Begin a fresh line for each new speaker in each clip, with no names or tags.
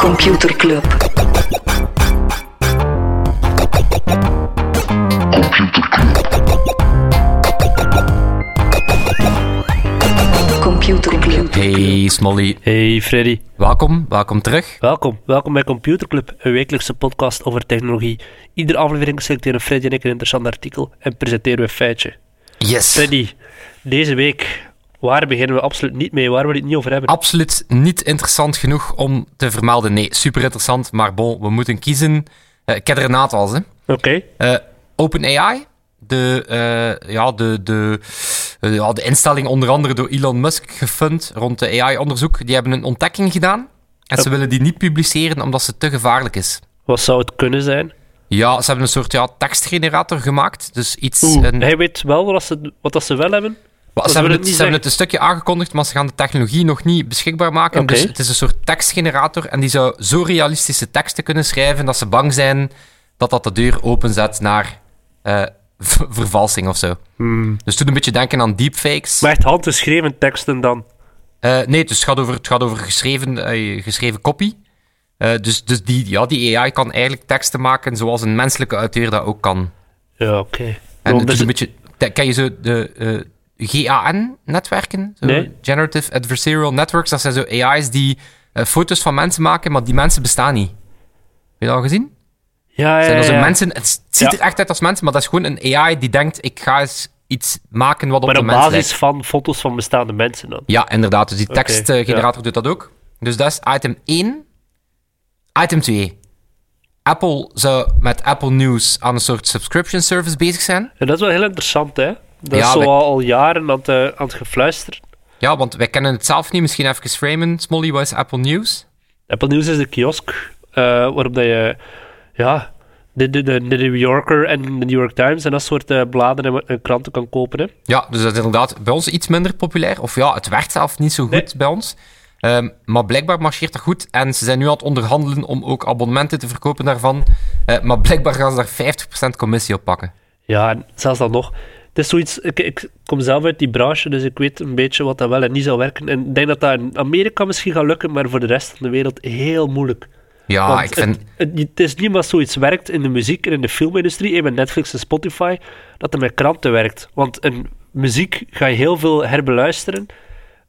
Computer Club. Computer Club.
Hey Smolly,
Hey Freddy,
welkom, welkom terug.
welkom. Welkom bij Computerclub, een wekelijkse podcast over technologie. Iedere aflevering selecteren Freddy en ik een interessant artikel en presenteren we een feitje.
Yes.
Freddy, deze week, waar beginnen we absoluut niet mee, waar wil je het niet over hebben?
Absoluut niet interessant genoeg om te vermelden. Nee, super interessant, maar bon, we moeten kiezen. Eh, ik heb er een aantal, hè.
Oké,
Eh, OpenAI, de, eh, ja, de, de, eh, ja, de instelling onder andere door Elon Musk gefund rond de AI-onderzoek, die hebben een ontdekking gedaan. En ze willen die niet publiceren omdat ze te gevaarlijk is.
wat zou het kunnen zijn?
Ja, ze hebben een soort ja, tekstgenerator gemaakt. Dus iets.
Oeh,
een-
hij weet wel wat ze, wat dat ze wel hebben.
Maar
Dat
ze hebben,
wil
het,
ik niet
ze hebben het een stukje aangekondigd, maar ze gaan de technologie nog niet beschikbaar maken.
Oké.
Dus het is een soort tekstgenerator en die zou zo realistische teksten kunnen schrijven dat ze bang zijn dat dat de deur openzet naar eh, v- vervalsing of zo. Dus toen een beetje denken aan deepfakes.
Hmm. Maar echt handgeschreven teksten dan.
Eh, nee, dus het gaat over, het gaat over geschreven, eh, geschreven copy. Eh, dus dus die, ja, die AI kan eigenlijk teksten maken zoals een menselijke auteur dat ook kan.
Ja, oké.
En
Want
het is
dus-
een beetje... te- Ken je zo de eh, GAN-netwerken? Zo
Nee.
Generative Adversarial Networks. Dat zijn zo AI's die eh, foto's van mensen maken, maar die mensen bestaan niet. Heb je dat al gezien?
ja, ja,
Zijn dat zo
ja, ja.
mensen, het s- het ziet
Ja.
er echt uit als mensen, maar dat is gewoon een AI die denkt, ik ga eens iets maken wat op
Maar
de
op
mens
basis
lijkt.
van foto's van bestaande mensen dan.
Ja, inderdaad. Dus die
Oké,
tekstgenerator doet dat ook. Dus dat is item 1. Item 2. Apple zou met Apple News aan een soort subscription service bezig zijn.
En dat is wel heel interessant, hè? Dat
Ja,
is zo
wij-
al, al jaren aan het, eh, aan het gefluisterd.
Ja, want wij kennen het zelf niet. Misschien even framen. Smolly, wat is Apple News?
Apple News is de kiosk eh, waarop dat je ja, de, de, de, de New Yorker en de New York Times en dat soort eh, bladen en, en kranten kan kopen. Hè.
Ja, dus dat is inderdaad bij ons iets minder populair. Of ja, het werd zelf niet zo goed
Nee.
bij ons. Ehm, maar blijkbaar marcheert dat goed. En ze zijn nu aan het onderhandelen om ook abonnementen te verkopen daarvan. Eh, maar blijkbaar gaan ze daar 50% commissie op pakken.
Ja, en zelfs dan nog. Het is zoiets, ik, ik kom zelf uit die branche, dus ik weet een beetje wat dat wel en niet zou werken. En ik denk dat dat in Amerika misschien gaat lukken, maar voor de rest van de wereld heel moeilijk.
Ja,
Want
Ah, ik vind...
het, het, het is niet maar zoiets werkt in de muziek en in de filmindustrie, en met Netflix en Spotify, dat er met kranten werkt. Want in muziek ga je heel veel herbeluisteren.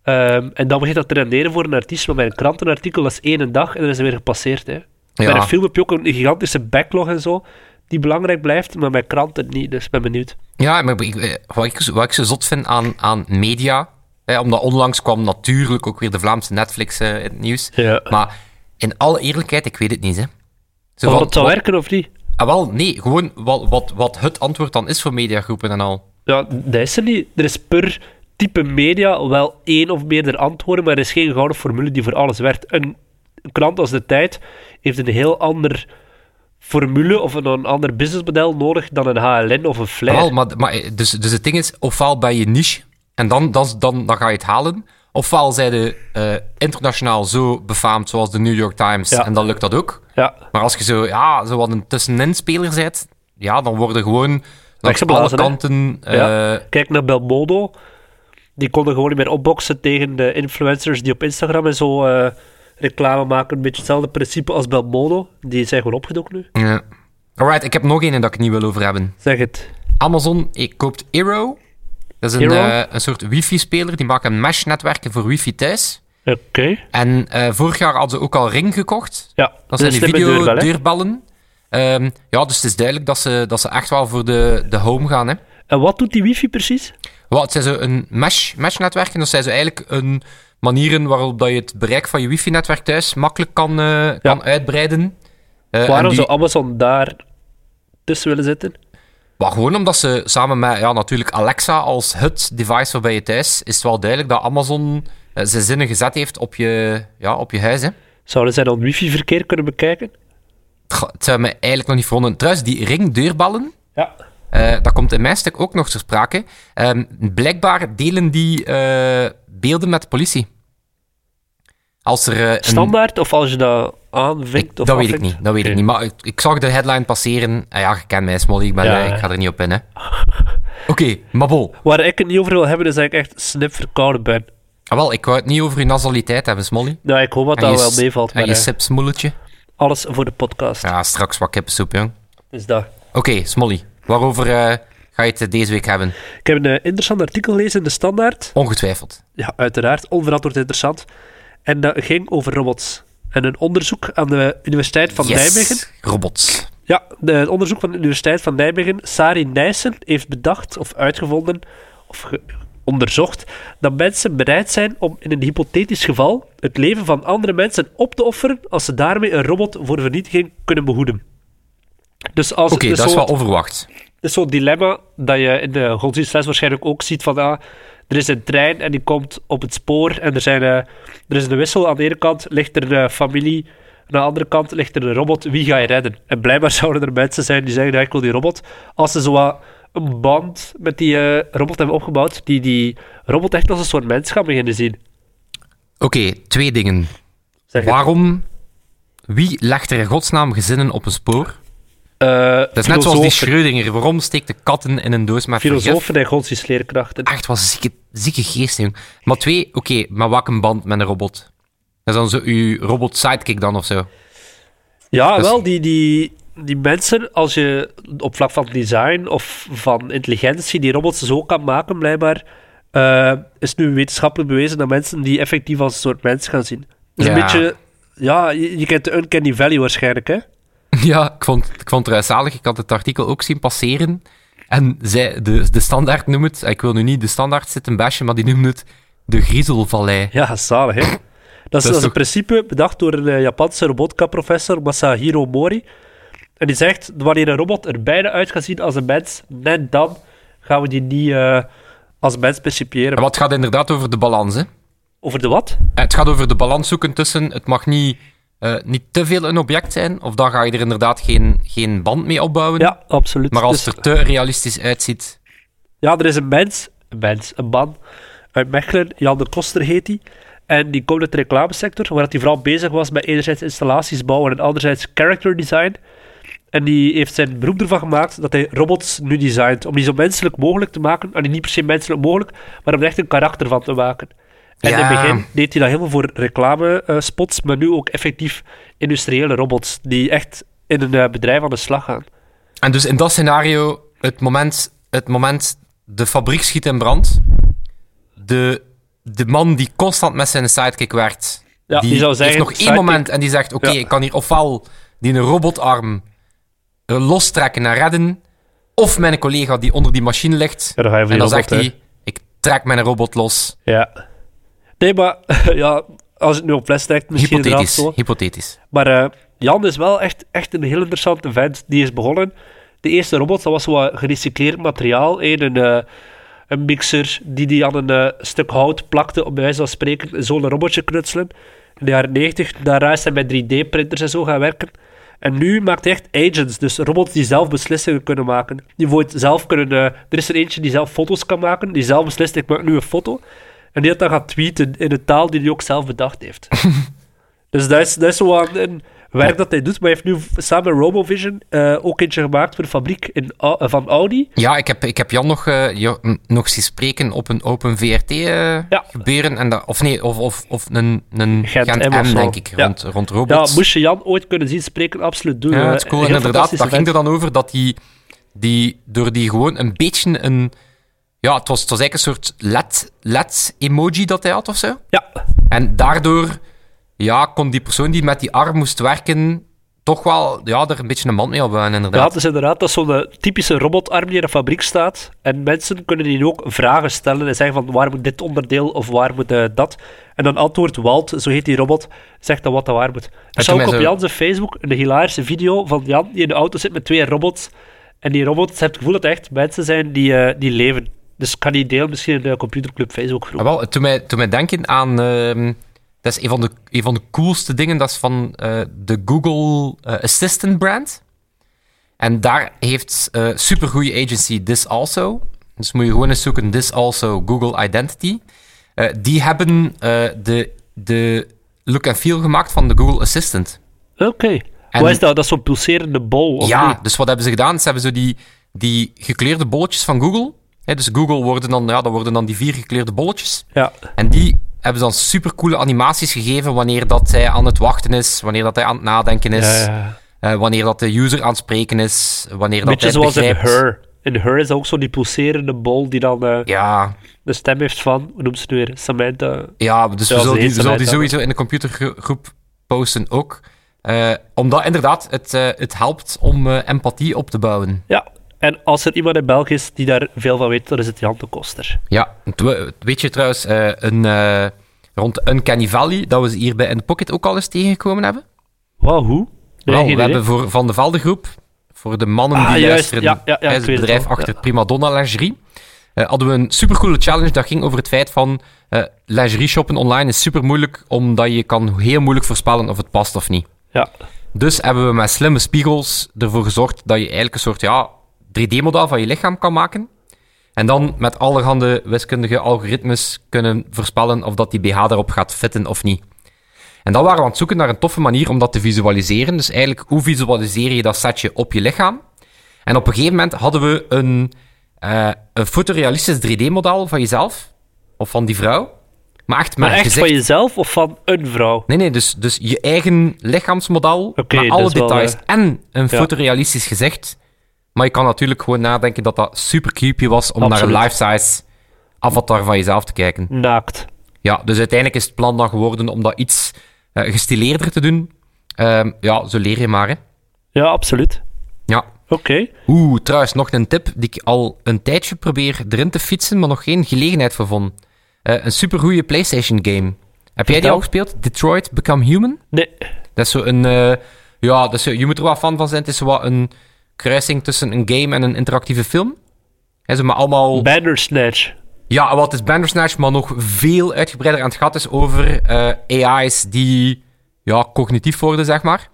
ehm, en dan begint dat te renderen voor een artiest. Maar bij een krantenartikel, dat is één dag en dan is het weer gepasseerd. Hè. Bij een film heb je ook een gigantische backlog en zo, die belangrijk blijft, maar bij kranten niet. Dus ik ben benieuwd.
Ja, maar ik- eh, wat ik, zo- wat ik zo zot vind aan, aan media. Hè, omdat onlangs kwam natuurlijk ook weer de Vlaamse Netflix eh, in het nieuws.
Ja.
Maar in alle eerlijkheid, ik weet het niet. Hè. Zo
Of
van,
dat zou
wat-
werken of niet?
Ah, wel, nee, gewoon wat, wat, wat het antwoord dan is voor mediagroepen en al.
Ja, dat is er niet. Er is per type media wel één of meerdere antwoorden, maar er is geen gouden formule die voor alles werkt. Een een krant als De Tijd heeft een heel ander formule of een, een ander businessmodel nodig dan een HLN of een Flair.
Wel, maar, maar, eh, dus, dus het ding is, ofwel ben je niche en dan, dan, dan, dan ga je het halen. Ofwel zijn de eh, internationaal zo befaamd zoals de New York Times
Ja.
en dan lukt dat ook.
ja,
Maar als je zo, ja, zo wat een tussenin-speler bent, ja, dan worden gewoon langs alle
Weggeblazen, hè?
kanten... eh,
ja. Kijk naar Belmodo. Die konden gewoon niet meer opboksen tegen de influencers die op Instagram en zo eh, reclame maken. Een beetje hetzelfde principe als Belmodo. Die zijn gewoon opgedoekt nu.
ja. eh, Alright, ik heb nog één dat ik het niet wil over hebben.
Zeg het.
Amazon eh, koopt Eero. Dat is een,
Eero?
eh, een soort wifi-speler. Die maken mesh-netwerken voor wifi thuis.
Oké.
En eh, vorig jaar hadden ze ook al Ring gekocht.
Ja,
Dat zijn
een
die
slimme deurbel, hè.
videodeurbellen. Ehm ja, dus het is duidelijk dat ze, dat ze echt wel voor de, de home gaan. Hè.
En wat doet die wifi precies?
Wel, het zijn zo een mesh, mesh-netwerk. En dat zijn zo eigenlijk een manieren waarop dat je het bereik van je wifi-netwerk thuis makkelijk kan, eh, kan uitbreiden. Eh, en
Waarom
die-
zou Amazon daar tussen willen zitten?
Maar gewoon omdat ze samen met ja, natuurlijk Alexa als het device waarbij je thuis, is het wel duidelijk dat Amazon eh, zijn zinnen gezet heeft op je, ja, op je huis. Hè.
Zouden zij dan wifi-verkeer kunnen bekijken?
Tja, Het zou me eigenlijk nog niet verwonderen. Trouwens, die ringdeurbellen,
Ja.
eh, dat komt in mijn stuk ook nog ter sprake. Ehm, blijkbaar delen die eh, beelden met de politie. Als er eh, een
Standaard, of als je dat aanvinkt?
Ik-
of
dat weet ik
afvinkt?
niet, dat weet ik
Oké.
niet. Maar ik, ik zag de headline passeren. Ah ja, je kent mij, Smolly. Ik, ben,
Ja,
eh,
ja.
ik ga er niet op in, hè. Oké, maar bon.
Waar ik het niet over wil hebben, is dat ik echt snipverkouden ben.
Ah, wel, ik wou het niet over je nasaliteit hebben, Smolly.
Nou, ik hoop dat
En je
dat wel
s-
meevalt.
En
Maar
je
eh,
sipsmoeletje.
alles voor de podcast.
Ja, straks wat kippensoep, jong.
Dus dat.
Oké, Smolly, waarover eh, ga je het eh, deze week hebben?
Ik heb een eh, interessant artikel gelezen in de Standaard.
Ongetwijfeld.
Ja, uiteraard. Onverantwoord interessant. En dat ging over robots. En een onderzoek aan de Universiteit van
Yes,
Nijmegen.
Robots.
Ja, de, het onderzoek van de Universiteit van Nijmegen, Sari Nijssen, heeft bedacht of uitgevonden of ge- onderzocht dat mensen bereid zijn om in een hypothetisch geval het leven van andere mensen op te offeren als ze daarmee een robot voor vernietiging kunnen behoeden. Dus als
Oké,
dus
dat is
zo'n-
wel onverwacht.
het is zo'n dilemma dat je in de godsdienstles waarschijnlijk ook ziet van ah, er is een trein en die komt op het spoor en er, zijn, eh, er is een wissel. Aan de ene kant ligt er een familie, aan de andere kant ligt er een robot. Wie ga je redden? En blijkbaar zouden er mensen zijn die zeggen, ja, ik wil die robot. Als ze zo wat een band met die eh, robot hebben opgebouwd, die die robot echt als een soort mens gaan beginnen zien.
Oké, twee dingen.
Zeg het.
Waarom? Wie legt er in godsnaam gezinnen op een spoor?
Eh,
Dat is net zoals die
filosofen-
Schrödinger. Waarom steekt de katten in een doos met vergif?
Filosofen en godsdienstleerkrachten.
Echt, wat een zieke, zieke geest, jong. Maar twee, oké, maar wat een band met een robot? Dat is dan zo uw robot sidekick dan of zo.
Ja,
Dus-
wel, die, die, die mensen, als je op vlak van design of van intelligentie die robots zo kan maken, blijkbaar, eh, is nu wetenschappelijk bewezen dat mensen die effectief als een soort mens gaan zien. Dus
Ja.
een beetje, ja, je, je kent de Uncanny Valley waarschijnlijk, hè?
Ja, ik vond, ik vond het raadzalig. Ik had het artikel ook zien passeren. En zij, de, de standaard noemt het, ik wil nu niet de standaard zitten bashen, maar die noemt het de griezelvallei.
Ja, zalig, hè? Dat is, dat is in
toch-
principe bedacht door een eh, Japanse robotica-professor, Masahiro Mori. En die zegt, wanneer een robot er bijna uit gaat zien als een mens, net dan gaan we die niet eh, als mens percipiëren.
En wat gaat inderdaad over de balans, hè?
Over de wat?
Het gaat over de balans zoeken tussen. Het mag niet, eh, niet te veel een object zijn, of dan ga je er inderdaad geen, geen band mee opbouwen.
Ja, absoluut.
Maar als
Dus-
het er te realistisch uitziet.
Ja, er is een mens, een mens, een man uit Mechelen, Jan de Koster heet die. En die komt uit de reclamesector, waar hij vooral bezig was met enerzijds installaties bouwen en anderzijds character design. En die heeft zijn beroep ervan gemaakt dat hij robots nu designt. Om die zo menselijk mogelijk te maken. En die niet per se menselijk mogelijk, maar om er echt een karakter van te maken. En in
Ja.
het begin deed hij dat helemaal voor reclamespots, maar nu ook effectief industriële robots. Die echt in een eh, bedrijf aan de slag gaan.
En dus in dat scenario, het moment, het moment de fabriek schiet in brand. De, de man die constant met zijn sidekick werkt,
Ja, die zou zeggen,
heeft nog één
sidekick-
moment en die zegt: Oké,
Ja.
ik kan hier ofwel die een robotarm eh, lostrekken en redden, of mijn collega die onder die machine ligt.
Ja, dan ga je voor
en
die
dan
robot,
zegt hij: Ik trek mijn robot los.
Ja. Nee, maar ja, altså, als het nu op les lijkt, misschien inderdaad
Hypothetisch.
zo.
Hypothetisch.
Maar eh, Jan is wel echt, echt een heel interessante vent. Die is begonnen. De eerste robot, dat was zo wat gerecycleerd materiaal. hè, Een, eh, een mixer die die aan een eh, stuk hout plakte, om bij wijze van spreken, en zo'n robotje knutselen. In de jaren 90. Daarna is hij met 3D-printers en zo gaan werken. En nu maakt hij echt agents, dus robots die zelf beslissingen kunnen maken. Die wordt zelf kunnen... eh, er is er eentje die zelf foto's kan maken, die zelf beslist, ik maak nu een foto. En die dat dan gaat tweeten in een taal die hij ook zelf bedacht heeft. Dus dat is, dat is zo een, een werk dat hij doet. Maar hij heeft nu v- samen met RoboVision eh, ook eentje gemaakt voor de fabriek in, Au- eh, van Audi.
Ja, ik heb, ik heb Jan nog, eh, jo- n- nog zien spreken op een Open VRT eh,
Ja.
gebeuren. En dat, of nee, of, of, of een, een
Gent
Gent,
M of
M,
zo.
denk ik,
Ja.
rond, rond
Ja,
robots.
moest je Jan ooit kunnen zien spreken, absoluut doen.
Ja,
Eh,
dat is cool.
een
En
heel
inderdaad, dat
fantastische
ging er
vent.
dan over dat die, die door die gewoon een beetje een... Ja, het was, het was eigenlijk een soort led- LED-emoji dat hij had of zo.
Ja,
En daardoor ja, kon die persoon die met die arm moest werken toch wel ja, er een beetje een band mee opbouwen,
ja,
inderdaad.
het is inderdaad dat is zo'n eh, typische robotarm die in een fabriek staat. En mensen kunnen die ook vragen stellen en zeggen van waar moet dit onderdeel of waar moet eh, dat. En dan antwoordt Walt, zo heet die robot, zegt dan wat dat waar moet. Er
toen
zou ook
mij
op
zo-
Jan zijn Facebook een hilarische video van Jan die in de auto zit met twee robots. En die robots, je hebt het gevoel dat het echt mensen zijn die, eh, die leven. Dus ik kan die deel misschien in de computerclub Facebook groep.
Ah, wel, toen mij, toen mij denken aan. ehm, dat is een van, de, een van de coolste dingen. Dat is van eh, de Google eh, Assistant brand. En daar heeft eh supergoeie agency This Also. Dus moet je gewoon eens zoeken: This Also Google Identity. Eh, die hebben eh, de, de look en feel gemaakt van de Google Assistant.
Oké.
En-
Wat is dat? Dat is zo'n pulserende bol? Of
Ja,
niet?
dus wat hebben ze gedaan? Ze hebben zo die, die gekleurde bolletjes van Google. Hè, dus Google worden dan, ja, dat worden dan die vier gekleurde bolletjes.
ja.
En die hebben ze dan supercoole animaties gegeven wanneer dat hij aan het wachten is, wanneer dat hij aan het nadenken is,
Ja, ja.
eh, wanneer dat de user aan het spreken is, wanneer dat
Beetje
hij
zoals in
begrijpt.
Her. In Her is dat ook zo die pulserende bol die dan eh,
Ja,
de stem heeft van, hoe noemt ze het nu weer? Samantha.
ja, dus
Ja,
we
ze
zullen die,
heet
we zullen die
Samantha.
sowieso in de computergroep posten ook. Eh, omdat inderdaad, het, eh, het helpt om eh, empathie op te bouwen.
Ja, en als er iemand in België is die daar veel van weet, dan is het Jan de Koster.
Ja, het we- weet je trouwens, eh, een, eh, rond Uncanny Valley, dat we ze hier bij In The Pocket ook al eens tegengekomen hebben?
Wauw, hoe?
Wel,
Nee, geen
we
idee.
hebben voor Van de Velde Groep, voor de mannen
Ah,
die
juist.
luisteren,
Ja, ja, ja,
hij is
ik weet
het
het
bedrijf
wel.
achter Prima Donna Lingerie, eh, hadden we een supercoole challenge dat ging over het feit van eh lingerie shoppen online is super moeilijk, omdat je kan heel moeilijk voorspellen of het past of niet.
Ja,
Dus hebben we met slimme spiegels ervoor gezorgd dat je eigenlijk een soort ja, 3D-model van je lichaam kan maken. En dan met allerhande wiskundige algoritmes kunnen voorspellen of dat die BH daarop gaat fitten of niet. En dan waren we aan het zoeken naar een toffe manier om dat te visualiseren. Dus eigenlijk, hoe visualiseer je dat setje op je lichaam? En op een gegeven moment hadden we een, eh, een fotorealistisch 3D-model van jezelf, of van die vrouw. Maar echt met
maar echt
gezicht-
van jezelf of van een vrouw?
Nee, nee, dus, dus je eigen lichaamsmodel,
Oké,
met
dat
alle
is wel,
details
eh,
en een
ja.
fotorealistisch gezicht. Maar je kan natuurlijk gewoon nadenken dat dat super creepy was om
Absoluut.
naar een life-size avatar van jezelf te kijken.
Naakt.
Ja, dus uiteindelijk is het plan dan geworden om dat iets eh, gestileerder te doen. Ehm, ja, zo leer je maar, hè.
Ja, absoluut.
Ja.
Oké.
Oeh, trouwens, nog een tip die ik al een tijdje probeer erin te fietsen, maar nog geen gelegenheid voor vond. Eh, een supergoeie PlayStation-game. Heb jij die
Vertel.
al gespeeld? Detroit Become Human?
Nee,
Dat is zo een. eh, ja, dat is zo- je moet er wel fan van zijn. Het is zo wat een kruising tussen een game en een interactieve film. Hè, zo maar allemaal.
Bandersnatch.
ja, wat is Bandersnatch, maar nog veel uitgebreider aan het gat is over eh, AI's die ja, cognitief worden, zeg maar.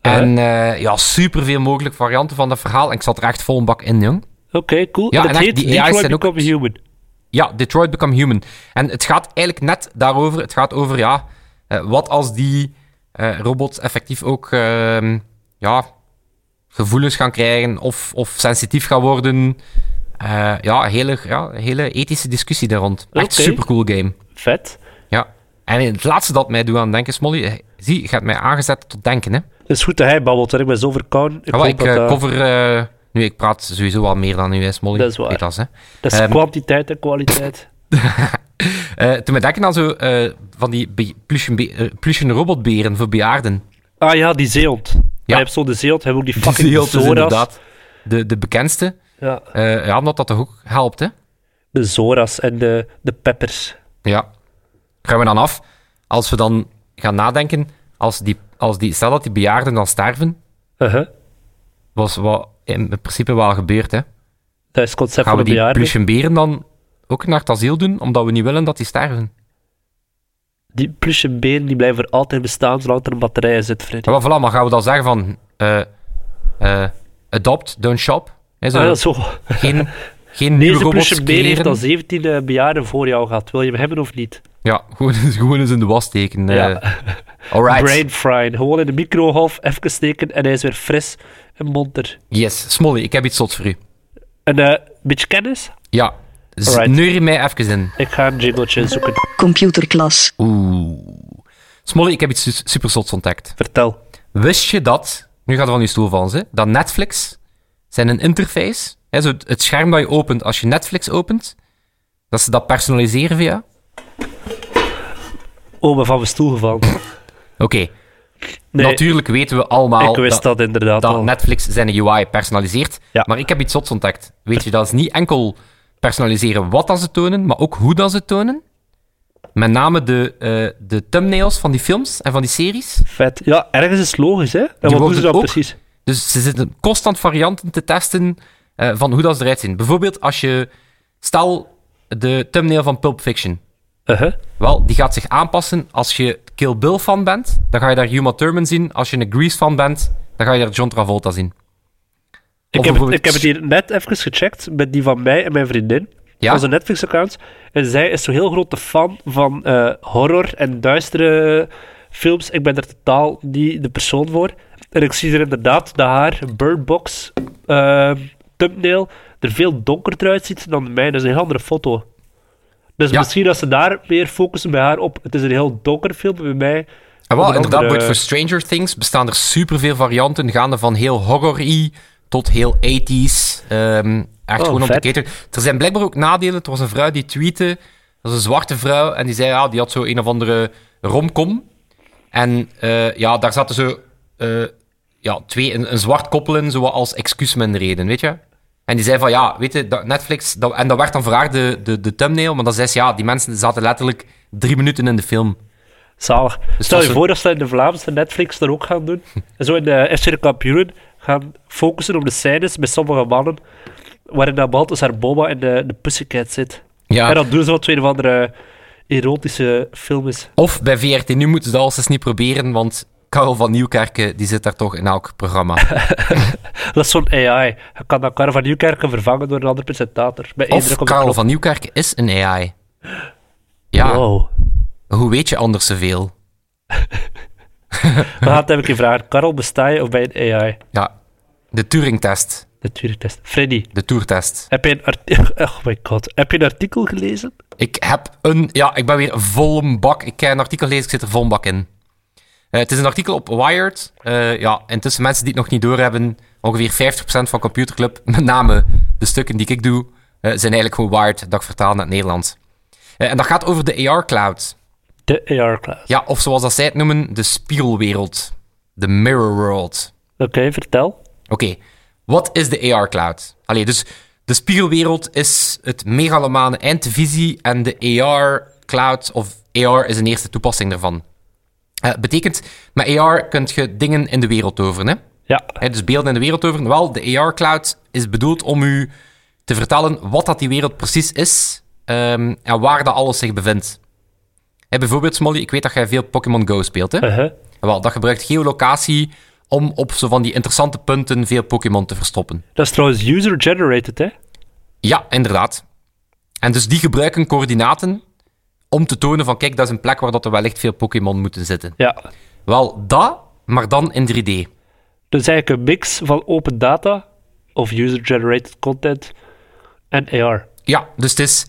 Ja.
En eh ja, superveel mogelijke varianten van dat verhaal. En ik zat er echt vol een bak in, jong.
Oké, cool.
Ja,
en
en
het
echt, die
heet
AI's
Detroit
zijn ook-
Become Human.
Ja, Detroit Become Human. En het gaat eigenlijk net daarover. Het gaat over, ja, eh, wat als die eh, robots effectief ook ehm, ja, gevoelens gaan krijgen of, of sensitief gaan worden. Eh, ja, hele, ja, hele ethische discussie daar rond. Echt
Oké.
supercool game.
Vet.
Ja. En het laatste dat mij doet aan denken, Smolly, eh, zie, je hebt mij aangezet tot denken. Hè?
Het is goed dat hij babbelt, want ik ben zo verkouden. Ik
Ah, wel,
hoop
ik
dat,
eh,
dat-
cover... eh, nu, ik praat sowieso wel meer dan u, hè, Smolly.
Dat is waar.
Weet hè.
dat is
ehm,
kwantiteit en kwaliteit.
Eh, toen we denken aan zo eh, van die be- plusje be- eh, plusje robotberen voor bejaarden.
Ah ja, die zeehond. Hij heeft zo'n zeehond, hij heeft ook die fucking
heel dus
Zoras.
inderdaad de, de bekendste.
Ja,
Eh, ja, omdat dat toch ook helpt, hè?
de Zoras en de, de Peppers.
Ja. Gaan we dan af, als we dan gaan nadenken, als die, als die, stel dat die bejaarden dan sterven,
Uh-huh.
was wat in principe wel gebeurd, hè?
Dat is het concept
Gaan we
van de
die
bejaarden.
plusje beren dan ook naar het asiel doen, omdat we niet willen dat die sterven?
Die plusje benen die blijven voor altijd bestaan zolang er een batterij in zit, Freddy.
Ja, maar voilà, maar gaan we dan zeggen van, eh, eh, adopt, don't shop? Hè, zo.
Ah, ja, zo.
geen, geen nieuwe
Deze
robots
plusje been heeft
creëren.
al 17 eh, bejaarden voor jou gehad. Wil je hem hebben of niet?
Ja, gewoon, eens- gewoon eens in de was steken. eh.
Ja.
Alright.
Brain frying. Gewoon in de microgolf even steken en hij is weer fris en monter.
Yes, Smolly, ik heb iets zots voor u.
Een eh, beetje kennis?
Ja, dus
Alright.
neur mij even in.
Ik ga een jingletje zoeken.
computerklas,
Oeh. Smolly, ik heb iets su- super zots ontdekt.
Vertel.
Wist je dat, nu gaat het van je stoel vallen, hè, dat Netflix zijn een interface, hè, zo het- het scherm dat je opent als je Netflix opent, dat ze dat personaliseren via?
Oh, ben van mijn stoel gevallen.
Oké,
Nee,
natuurlijk weten we allemaal
ik wist dat, inderdaad
dat
al.
Netflix zijn UI personaliseert.
Ja.
Maar ik heb iets zots ontdekt. Weet je, dat is niet enkel personaliseren wat dat ze tonen, maar ook hoe dat ze tonen. Met name de, eh, de thumbnails van die films en van die series.
Vet. Ja, ergens is het logisch, hè? En wat doen
worden
ze dan
ook-
precies?
Dus ze zitten constant varianten te testen eh, van hoe dat ze eruit zien. Bijvoorbeeld als je... Stel de thumbnail van Pulp Fiction.
Uh-huh.
Wel, die gaat zich aanpassen. Als je Kill Bill fan bent, dan ga je daar Uma Thurman zien. Als je een Grease fan bent, dan ga je daar John Travolta zien.
Ik,
Of
heb het,
bijvoorbeeld-
ik heb het hier net even gecheckt met die van mij en mijn vriendin.
Ja?
Onze Netflix-account. En zij is zo'n heel grote fan van eh, horror en duistere films. Ik ben daar totaal niet de persoon voor. En ik zie er inderdaad dat haar ehm, Bird Box eh, thumbnail er veel donkerder uitziet dan de mijne. Dat is een heel andere foto. Dus
Ja.
misschien dat ze daar meer focussen bij haar op. Het is een heel donker film bij mij.
En Ah, wel,
Onder
inderdaad,
andere-
Bert, voor Stranger Things bestaan er superveel varianten, gaande van heel horror-y tot heel 80s. ehm, echt
Oh,
gewoon om te
vet.
cateren. Er zijn blijkbaar ook nadelen. Er was een vrouw die tweette, dat was een zwarte vrouw, en die zei, ja, die had zo een of andere romcom. En eh, ja, daar zaten zo eh, ja, twee, een, een zwart koppel in, zo als excuusmen reden, weet je? En die zei van, ja, weet je, dat Netflix... Dat, en dat werd dan voor haar de, de, de thumbnail, maar dan zei ze, ja, die mensen zaten letterlijk drie minuten in de film.
Zalig. Stel
dat
je
ze-
voor dat ze dat in de Vlaamse Netflix dat ook gaan doen. En zo in de FC de Kampioenen gaan focussen op de scènes met sommige mannen. Waarin dat Balthasar Boma in de, de Pussycat zit.
Ja.
En dat doen ze wat een of andere erotische film is.
Of bij VRT nu moeten ze dat alstens niet proberen, want Karel van Nieuwkerken die zit daar toch in elk programma.
Dat is zo'n AI. Je kan dat Karel van Nieuwkerken vervangen door een ander presentator. Bij één druk
Of
op de
Karel
knop.
van Nieuwkerken is een AI. Ja,
Wow.
hoe weet je anders zoveel?
We gaan het even vragen. Karel, besta je of bij een AI?
Ja, de Turing-test,
Natuurlijk test. Freddy,
de Tourtest.
heb je een artikel... Oh my god. Heb je een artikel gelezen?
Ik heb een, ja, ik ben weer vol een bak. Ik heb een artikel gelezen, ik zit er vol een bak in. Eh, het is een artikel op Wired. Eh, ja, intussen mensen die het nog niet doorhebben, ongeveer 50% van Computer Club, met name de stukken die ik doe, eh, zijn eigenlijk gewoon Wired dat ik vertaal naar het Nederlands. Eh, en dat gaat over de AR-cloud.
De AR-class.
Ja, of zoals dat zij het noemen, de spiegelwereld. De mirror world.
Oké, vertel.
Oké, wat is de AR Cloud? Allee, dus de spiegelwereld is het megalomane eindvisie en de AR Cloud, of AR is een eerste toepassing daarvan. Eh betekent, met AR kun je dingen in de wereld toveren, hè?
Ja.
Hè, dus beelden in de wereld toveren. Wel, de AR Cloud is bedoeld om u te vertellen wat dat die wereld precies is ehm, en waar dat alles zich bevindt. Hè, bijvoorbeeld, Smolly, ik weet dat jij veel Pokémon Go speelt, hè?
Uh-huh.
Wel, dat gebruikt geolocatie om op zo van die interessante punten veel Pokémon te verstoppen.
Dat is trouwens user-generated, hè?
Ja, inderdaad. En dus die gebruiken coördinaten om te tonen van kijk, dat is een plek waar dat er wellicht veel Pokémon moeten zitten.
Ja.
Wel, dat, maar dan in 3D.
Dus eigenlijk een mix van open data of user-generated content en AR.
Ja, dus het is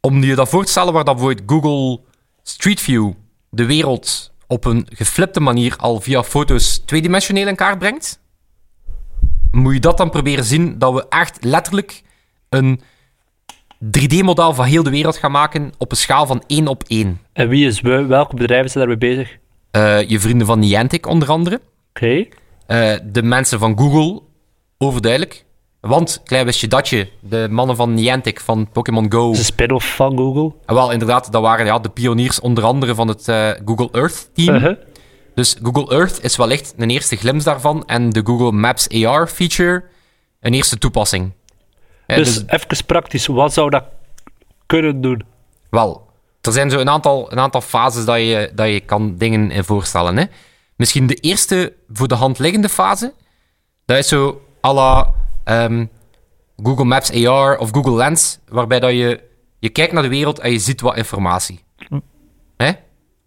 om je dat voor te stellen waar dat bijvoorbeeld Google Street View de wereld op een geflipte manier al via foto's tweedimensioneel in kaart brengt, moet je dat dan proberen zien dat we echt letterlijk een 3D-model van heel de wereld gaan maken op een schaal van 1 op 1.
En wie is we? Welke bedrijven zijn daarmee bezig? Oké.
Eh, je vrienden van Niantic onder andere. Eh, de mensen van Google, overduidelijk. Want, klein wist je dat je, de mannen van Niantic van Pokémon Go...
Dat is een spin-off van Google.
En wel, inderdaad, dat waren ja, de pioniers onder andere van het eh, Google Earth-team.
Uh-huh.
Dus Google Earth is wellicht een eerste glimp daarvan. En de Google Maps AR-feature, een eerste toepassing. Eh,
dus, even praktisch, wat zou dat kunnen doen?
Wel, er zijn zo een aantal, een aantal fases dat je, dat je kan dingen in voorstellen. Hè? Misschien de eerste voor de hand liggende fase. Dat is zo à la ehm, Google Maps AR of Google Lens. Waarbij dat je, je kijkt naar de wereld en je ziet wat informatie. Hè?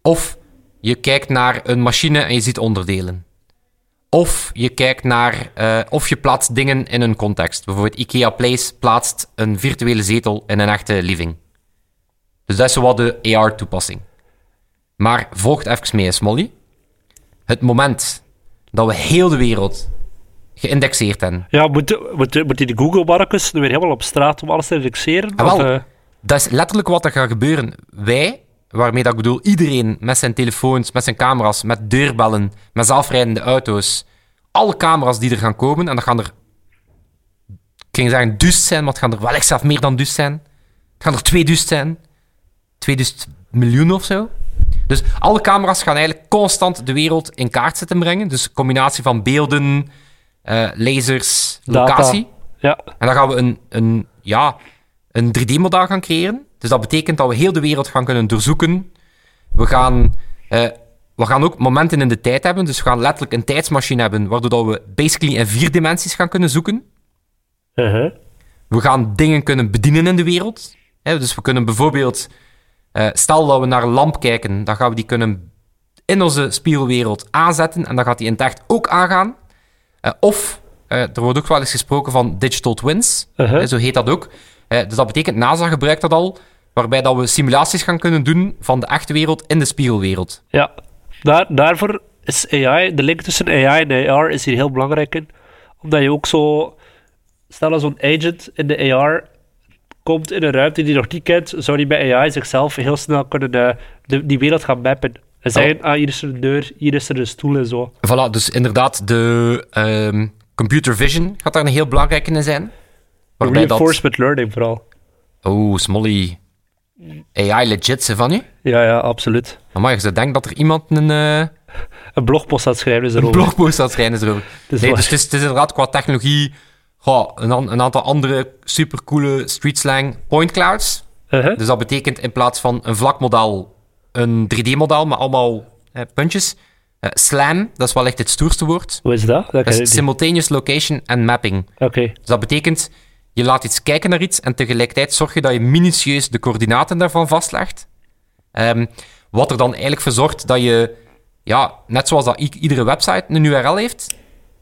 Of je kijkt naar een machine en je ziet onderdelen. Of je kijkt naar, eh, of je plaatst dingen in een context. Bijvoorbeeld IKEA Place plaatst een virtuele zetel in een echte living. Dus dat is zowat de AR-toepassing. Maar volgt even mee, Smolly. Het moment dat we heel de wereld geïndexeerd hebben,
Ja, moet, moet, moet die Google-markers nu weer helemaal op straat om alles te indexeren?
Ah, wel.
Of, eh,
dat is letterlijk wat er gaat gebeuren. Wij, waarmee dat ik bedoel iedereen met zijn telefoons, met zijn camera's, met deurbellen, met zelfrijdende auto's, alle camera's die er gaan komen, en dat gaan er, ik ging zeggen duist zijn, maar het gaan er wel echt zelf meer dan duist zijn. Het gaan er twee duist zijn. 2000 miljoen of zo. Dus alle camera's gaan eigenlijk constant de wereld in kaart zitten brengen. Dus een combinatie van beelden, eh, lasers,
Data.
locatie.
ja.
En dan gaan we een, een, ja, een 3D-model gaan creëren. Dus dat betekent dat we heel de wereld gaan kunnen doorzoeken. We gaan, eh, we gaan ook momenten in de tijd hebben. Dus we gaan letterlijk een tijdsmachine hebben, waardoor dat we basically in vier dimensies gaan kunnen zoeken.
Uh-huh.
We gaan dingen kunnen bedienen in de wereld. Hè? Dus we kunnen bijvoorbeeld, eh, stel dat we naar een lamp kijken, dan gaan we die kunnen in onze spiegelwereld aanzetten en dan gaat die in het echt ook aangaan. Eh, of, eh, er wordt ook wel eens gesproken van digital twins,
Uh-huh.
hè, zo heet dat ook. Eh, dus dat betekent, NASA gebruikt dat al, waarbij dat we simulaties gaan kunnen doen van de echte wereld in de spiegelwereld.
Ja, daar, daarvoor is AI, de link tussen AI en AR is hier heel belangrijk in. Omdat je ook zo, stel als zo'n agent in de AR komt in een ruimte die je nog niet kent, zou die bij AI zichzelf heel snel kunnen eh, de, die wereld gaan mappen. En
Oh.
zeggen, ah, hier is er een deur, hier is er een stoel en zo.
Voilà, dus inderdaad, de ehm, computer vision gaat daar een heel belangrijke in zijn. Waarbij dat...
Reinforcement learning vooral.
Oh, Smolly. AI legit, ze van u?
Ja, ja, absoluut.
Maar als je denkt dat er iemand een, eh,
Een blogpost aan het schrijven is
een
erover.
blogpost aan het schrijven is erover.
is
nee,
waar.
dus het is, het is inderdaad qua technologie goh, een, an- een aantal andere supercoole street slang point clouds.
Uh-huh.
Dus dat betekent in plaats van een vlak model, een 3D-model, maar allemaal eh, puntjes. Eh, slam, dat is wel echt het stoerste woord.
Hoe is dat?
Dat
Dat ken ik
is
niet.
simultaneous location en mapping.
Oké.
Dus dat betekent, je laat iets kijken naar iets en tegelijkertijd zorg je dat je minutieus de coördinaten daarvan vastlegt. Ehm, wat er dan eigenlijk voor zorgt dat je, ja, net zoals dat i- iedere website een URL heeft,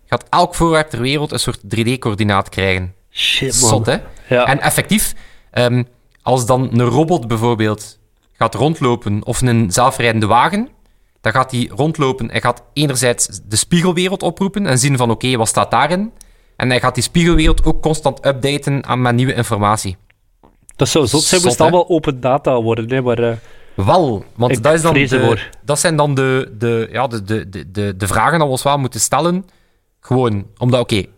gaat elk voorwerp ter wereld een soort 3D-coördinaat krijgen.
Shit, man.
Zot, hè?
Ja.
En effectief, ehm, als dan een robot bijvoorbeeld gaat rondlopen of een zelfrijdende wagen, dan gaat die rondlopen en gaat enerzijds de spiegelwereld oproepen en zien van oké, wat staat daarin? En hij gaat die spiegelwereld ook constant updaten aan mijn nieuwe informatie.
Dat zou zot zijn,
Zot,
moest
hè?
allemaal open data worden, hè, maar... eh,
Wel, want
Ik
dat, is dan
vrees
de,
ervoor.
dat zijn dan de, de, ja, de, de, de- de, de vragen die we ons wel moeten stellen. Gewoon, omdat oké, het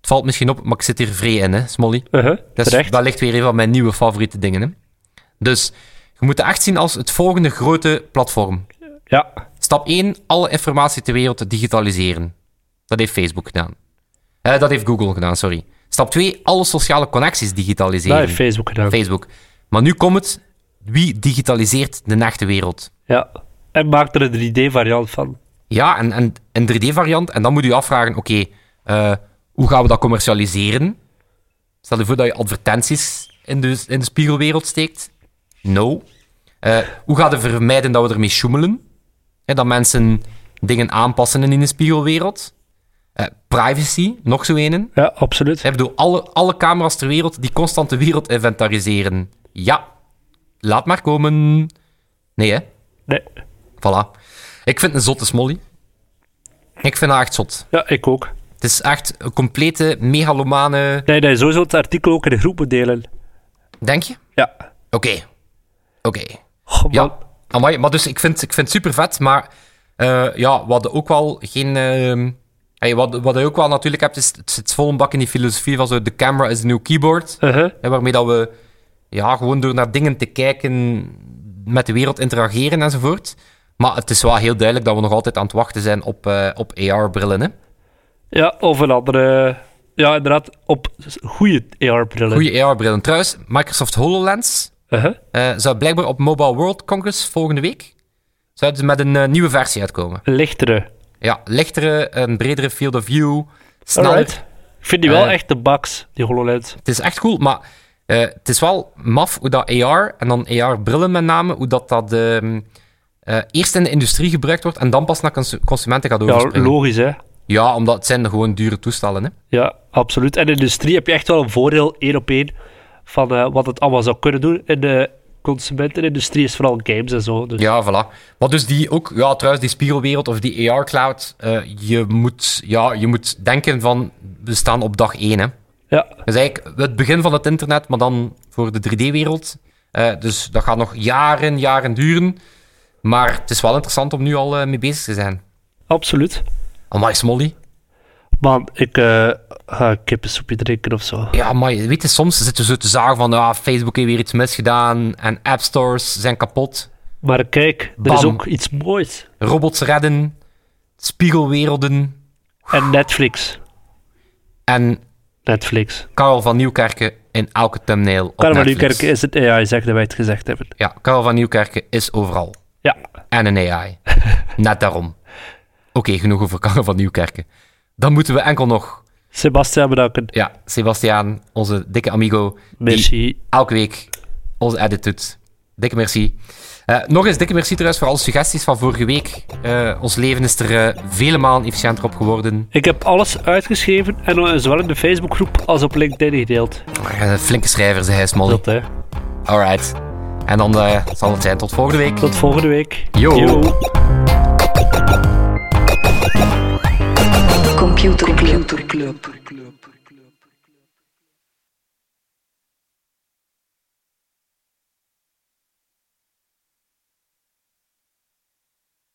valt misschien op, maar ik zit hier vrij in, hè, Smolly.
uh-huh,
Dat, is,
terecht.
dat ligt weer een van mijn nieuwe favoriete dingen. Hè? Dus je moet het echt zien als het volgende grote platform.
Ja,
Stap 1, alle informatie ter wereld digitaliseren. Dat heeft Facebook gedaan. Eh, dat heeft Google gedaan, sorry. Stap 2, alle sociale connecties digitaliseren.
dat heeft Facebook gedaan.
Facebook. Maar nu komt het, wie digitaliseert de echte wereld?
Ja. En maakt er een 3D-variant van.
Ja, en, en een 3D-variant. En dan moet je je afvragen, oké, eh, hoe gaan we dat commercialiseren? Stel je voor dat je advertenties in de, in de spiegelwereld steekt. No. Eh, hoe gaan we vermijden dat we ermee sjoemelen? Hè, dat mensen dingen aanpassen in de spiegelwereld. Eh, privacy, nog zo een.
Ja, absoluut.
Ik bedoel, alle, alle camera's ter wereld die constant de wereld inventariseren. Ja, laat maar komen. Nee, hè?
Nee.
Voilà. Ik vind het een zotte smolly. Ik vind haar echt zot.
Ja, ik ook.
Het is echt een complete megalomane...
Nee, nee, sowieso het artikel ook in de groep moet delen.
Denk je?
Ja.
Oké. Oké.
Goh, man.
Ja. Amai, maar dus ik vind, ik vind het super vet, maar eh, ja, wat je ook wel geen... ehm, hey, wat, wat je ook wel natuurlijk hebt, is het zit vol een bak in die filosofie van zo, de camera is een nieuw keyboard.
Uh-huh.
Hè, waarmee dat we ja, gewoon door naar dingen te kijken, met de wereld interageren enzovoort. Maar het is wel heel duidelijk dat we nog altijd aan het wachten zijn op, eh, op AR-brillen. Hè?
Ja, of een andere... Ja, inderdaad, op goede AR-brillen.
Goede AR-brillen. Trouwens, Microsoft HoloLens
Uh-huh.
eh, zou blijkbaar op Mobile World Congress volgende week zouden ze met een eh, nieuwe versie uitkomen.
Lichtere.
Ja, lichtere, een bredere field of view, sneller.
Alright. Ik vind die wel
Eh.
echt de baks, die HoloLens.
Het is echt cool, maar eh, het is wel maf hoe dat AR, en dan AR-brillen met name, hoe dat, dat ehm, eh, eerst in de industrie gebruikt wordt en dan pas naar cons- consumenten gaat
Ja,
overspringen. Ja,
logisch, hè.
omdat het zijn gewoon dure toestellen. Hè?
Ja, absoluut. En in de industrie heb je echt wel een voordeel, één op één, van eh, wat het allemaal zou kunnen doen. In de consumentenindustrie is vooral games en zo. Dus
Ja, voilà. Maar dus die ook, ja, trouwens, die spiegelwereld of die AR-cloud, je, moet, ja, je moet denken van, we staan op dag één. Hè.
ja.
Dat is eigenlijk het begin van het internet, maar dan voor de 3D-wereld. Eh, dus dat gaat nog jaren, jaren duren. Maar het is wel interessant om nu al eh, mee bezig te zijn.
absoluut.
Amai, Smolly.
Man, ik eh, ga een kippensoepje drinken of zo.
Ja, maar je weet je, soms zitten ze te zagen van ah, Facebook heeft weer iets misgedaan en appstores zijn kapot.
Maar kijk, er is
Bam.
ook iets moois.
Robots redden, spiegelwerelden
En Netflix.
en
Netflix.
Karel van Nieuwkerken in elke thumbnail op
Karel van
Netflix.
Nieuwkerk is het AI, zeg dat wij het gezegd hebben.
Ja, Karel van Nieuwkerken is overal.
Ja,
En een AI. Net daarom. Oké, genoeg over Karel van Nieuwkerken. Dan moeten we enkel nog...
Sebastian bedanken.
Ja, Sebastiaan, onze dikke amigo. die
Merci.
elke week onze edit doet. Dikke merci. Eh, nog eens dikke merci trouwens voor alle suggesties van vorige week. Eh, ons leven is er eh, vele malen efficiënter op geworden.
Ik heb alles uitgeschreven en eh, zowel in de Facebookgroep als op LinkedIn gedeeld.
Eh, flinke schrijver, zei hij, Smolly.
Dat, hè.
Alright. En dan eh, zal het zijn tot volgende week.
Tot volgende week.
Yo.
Computer Club. Computer Club.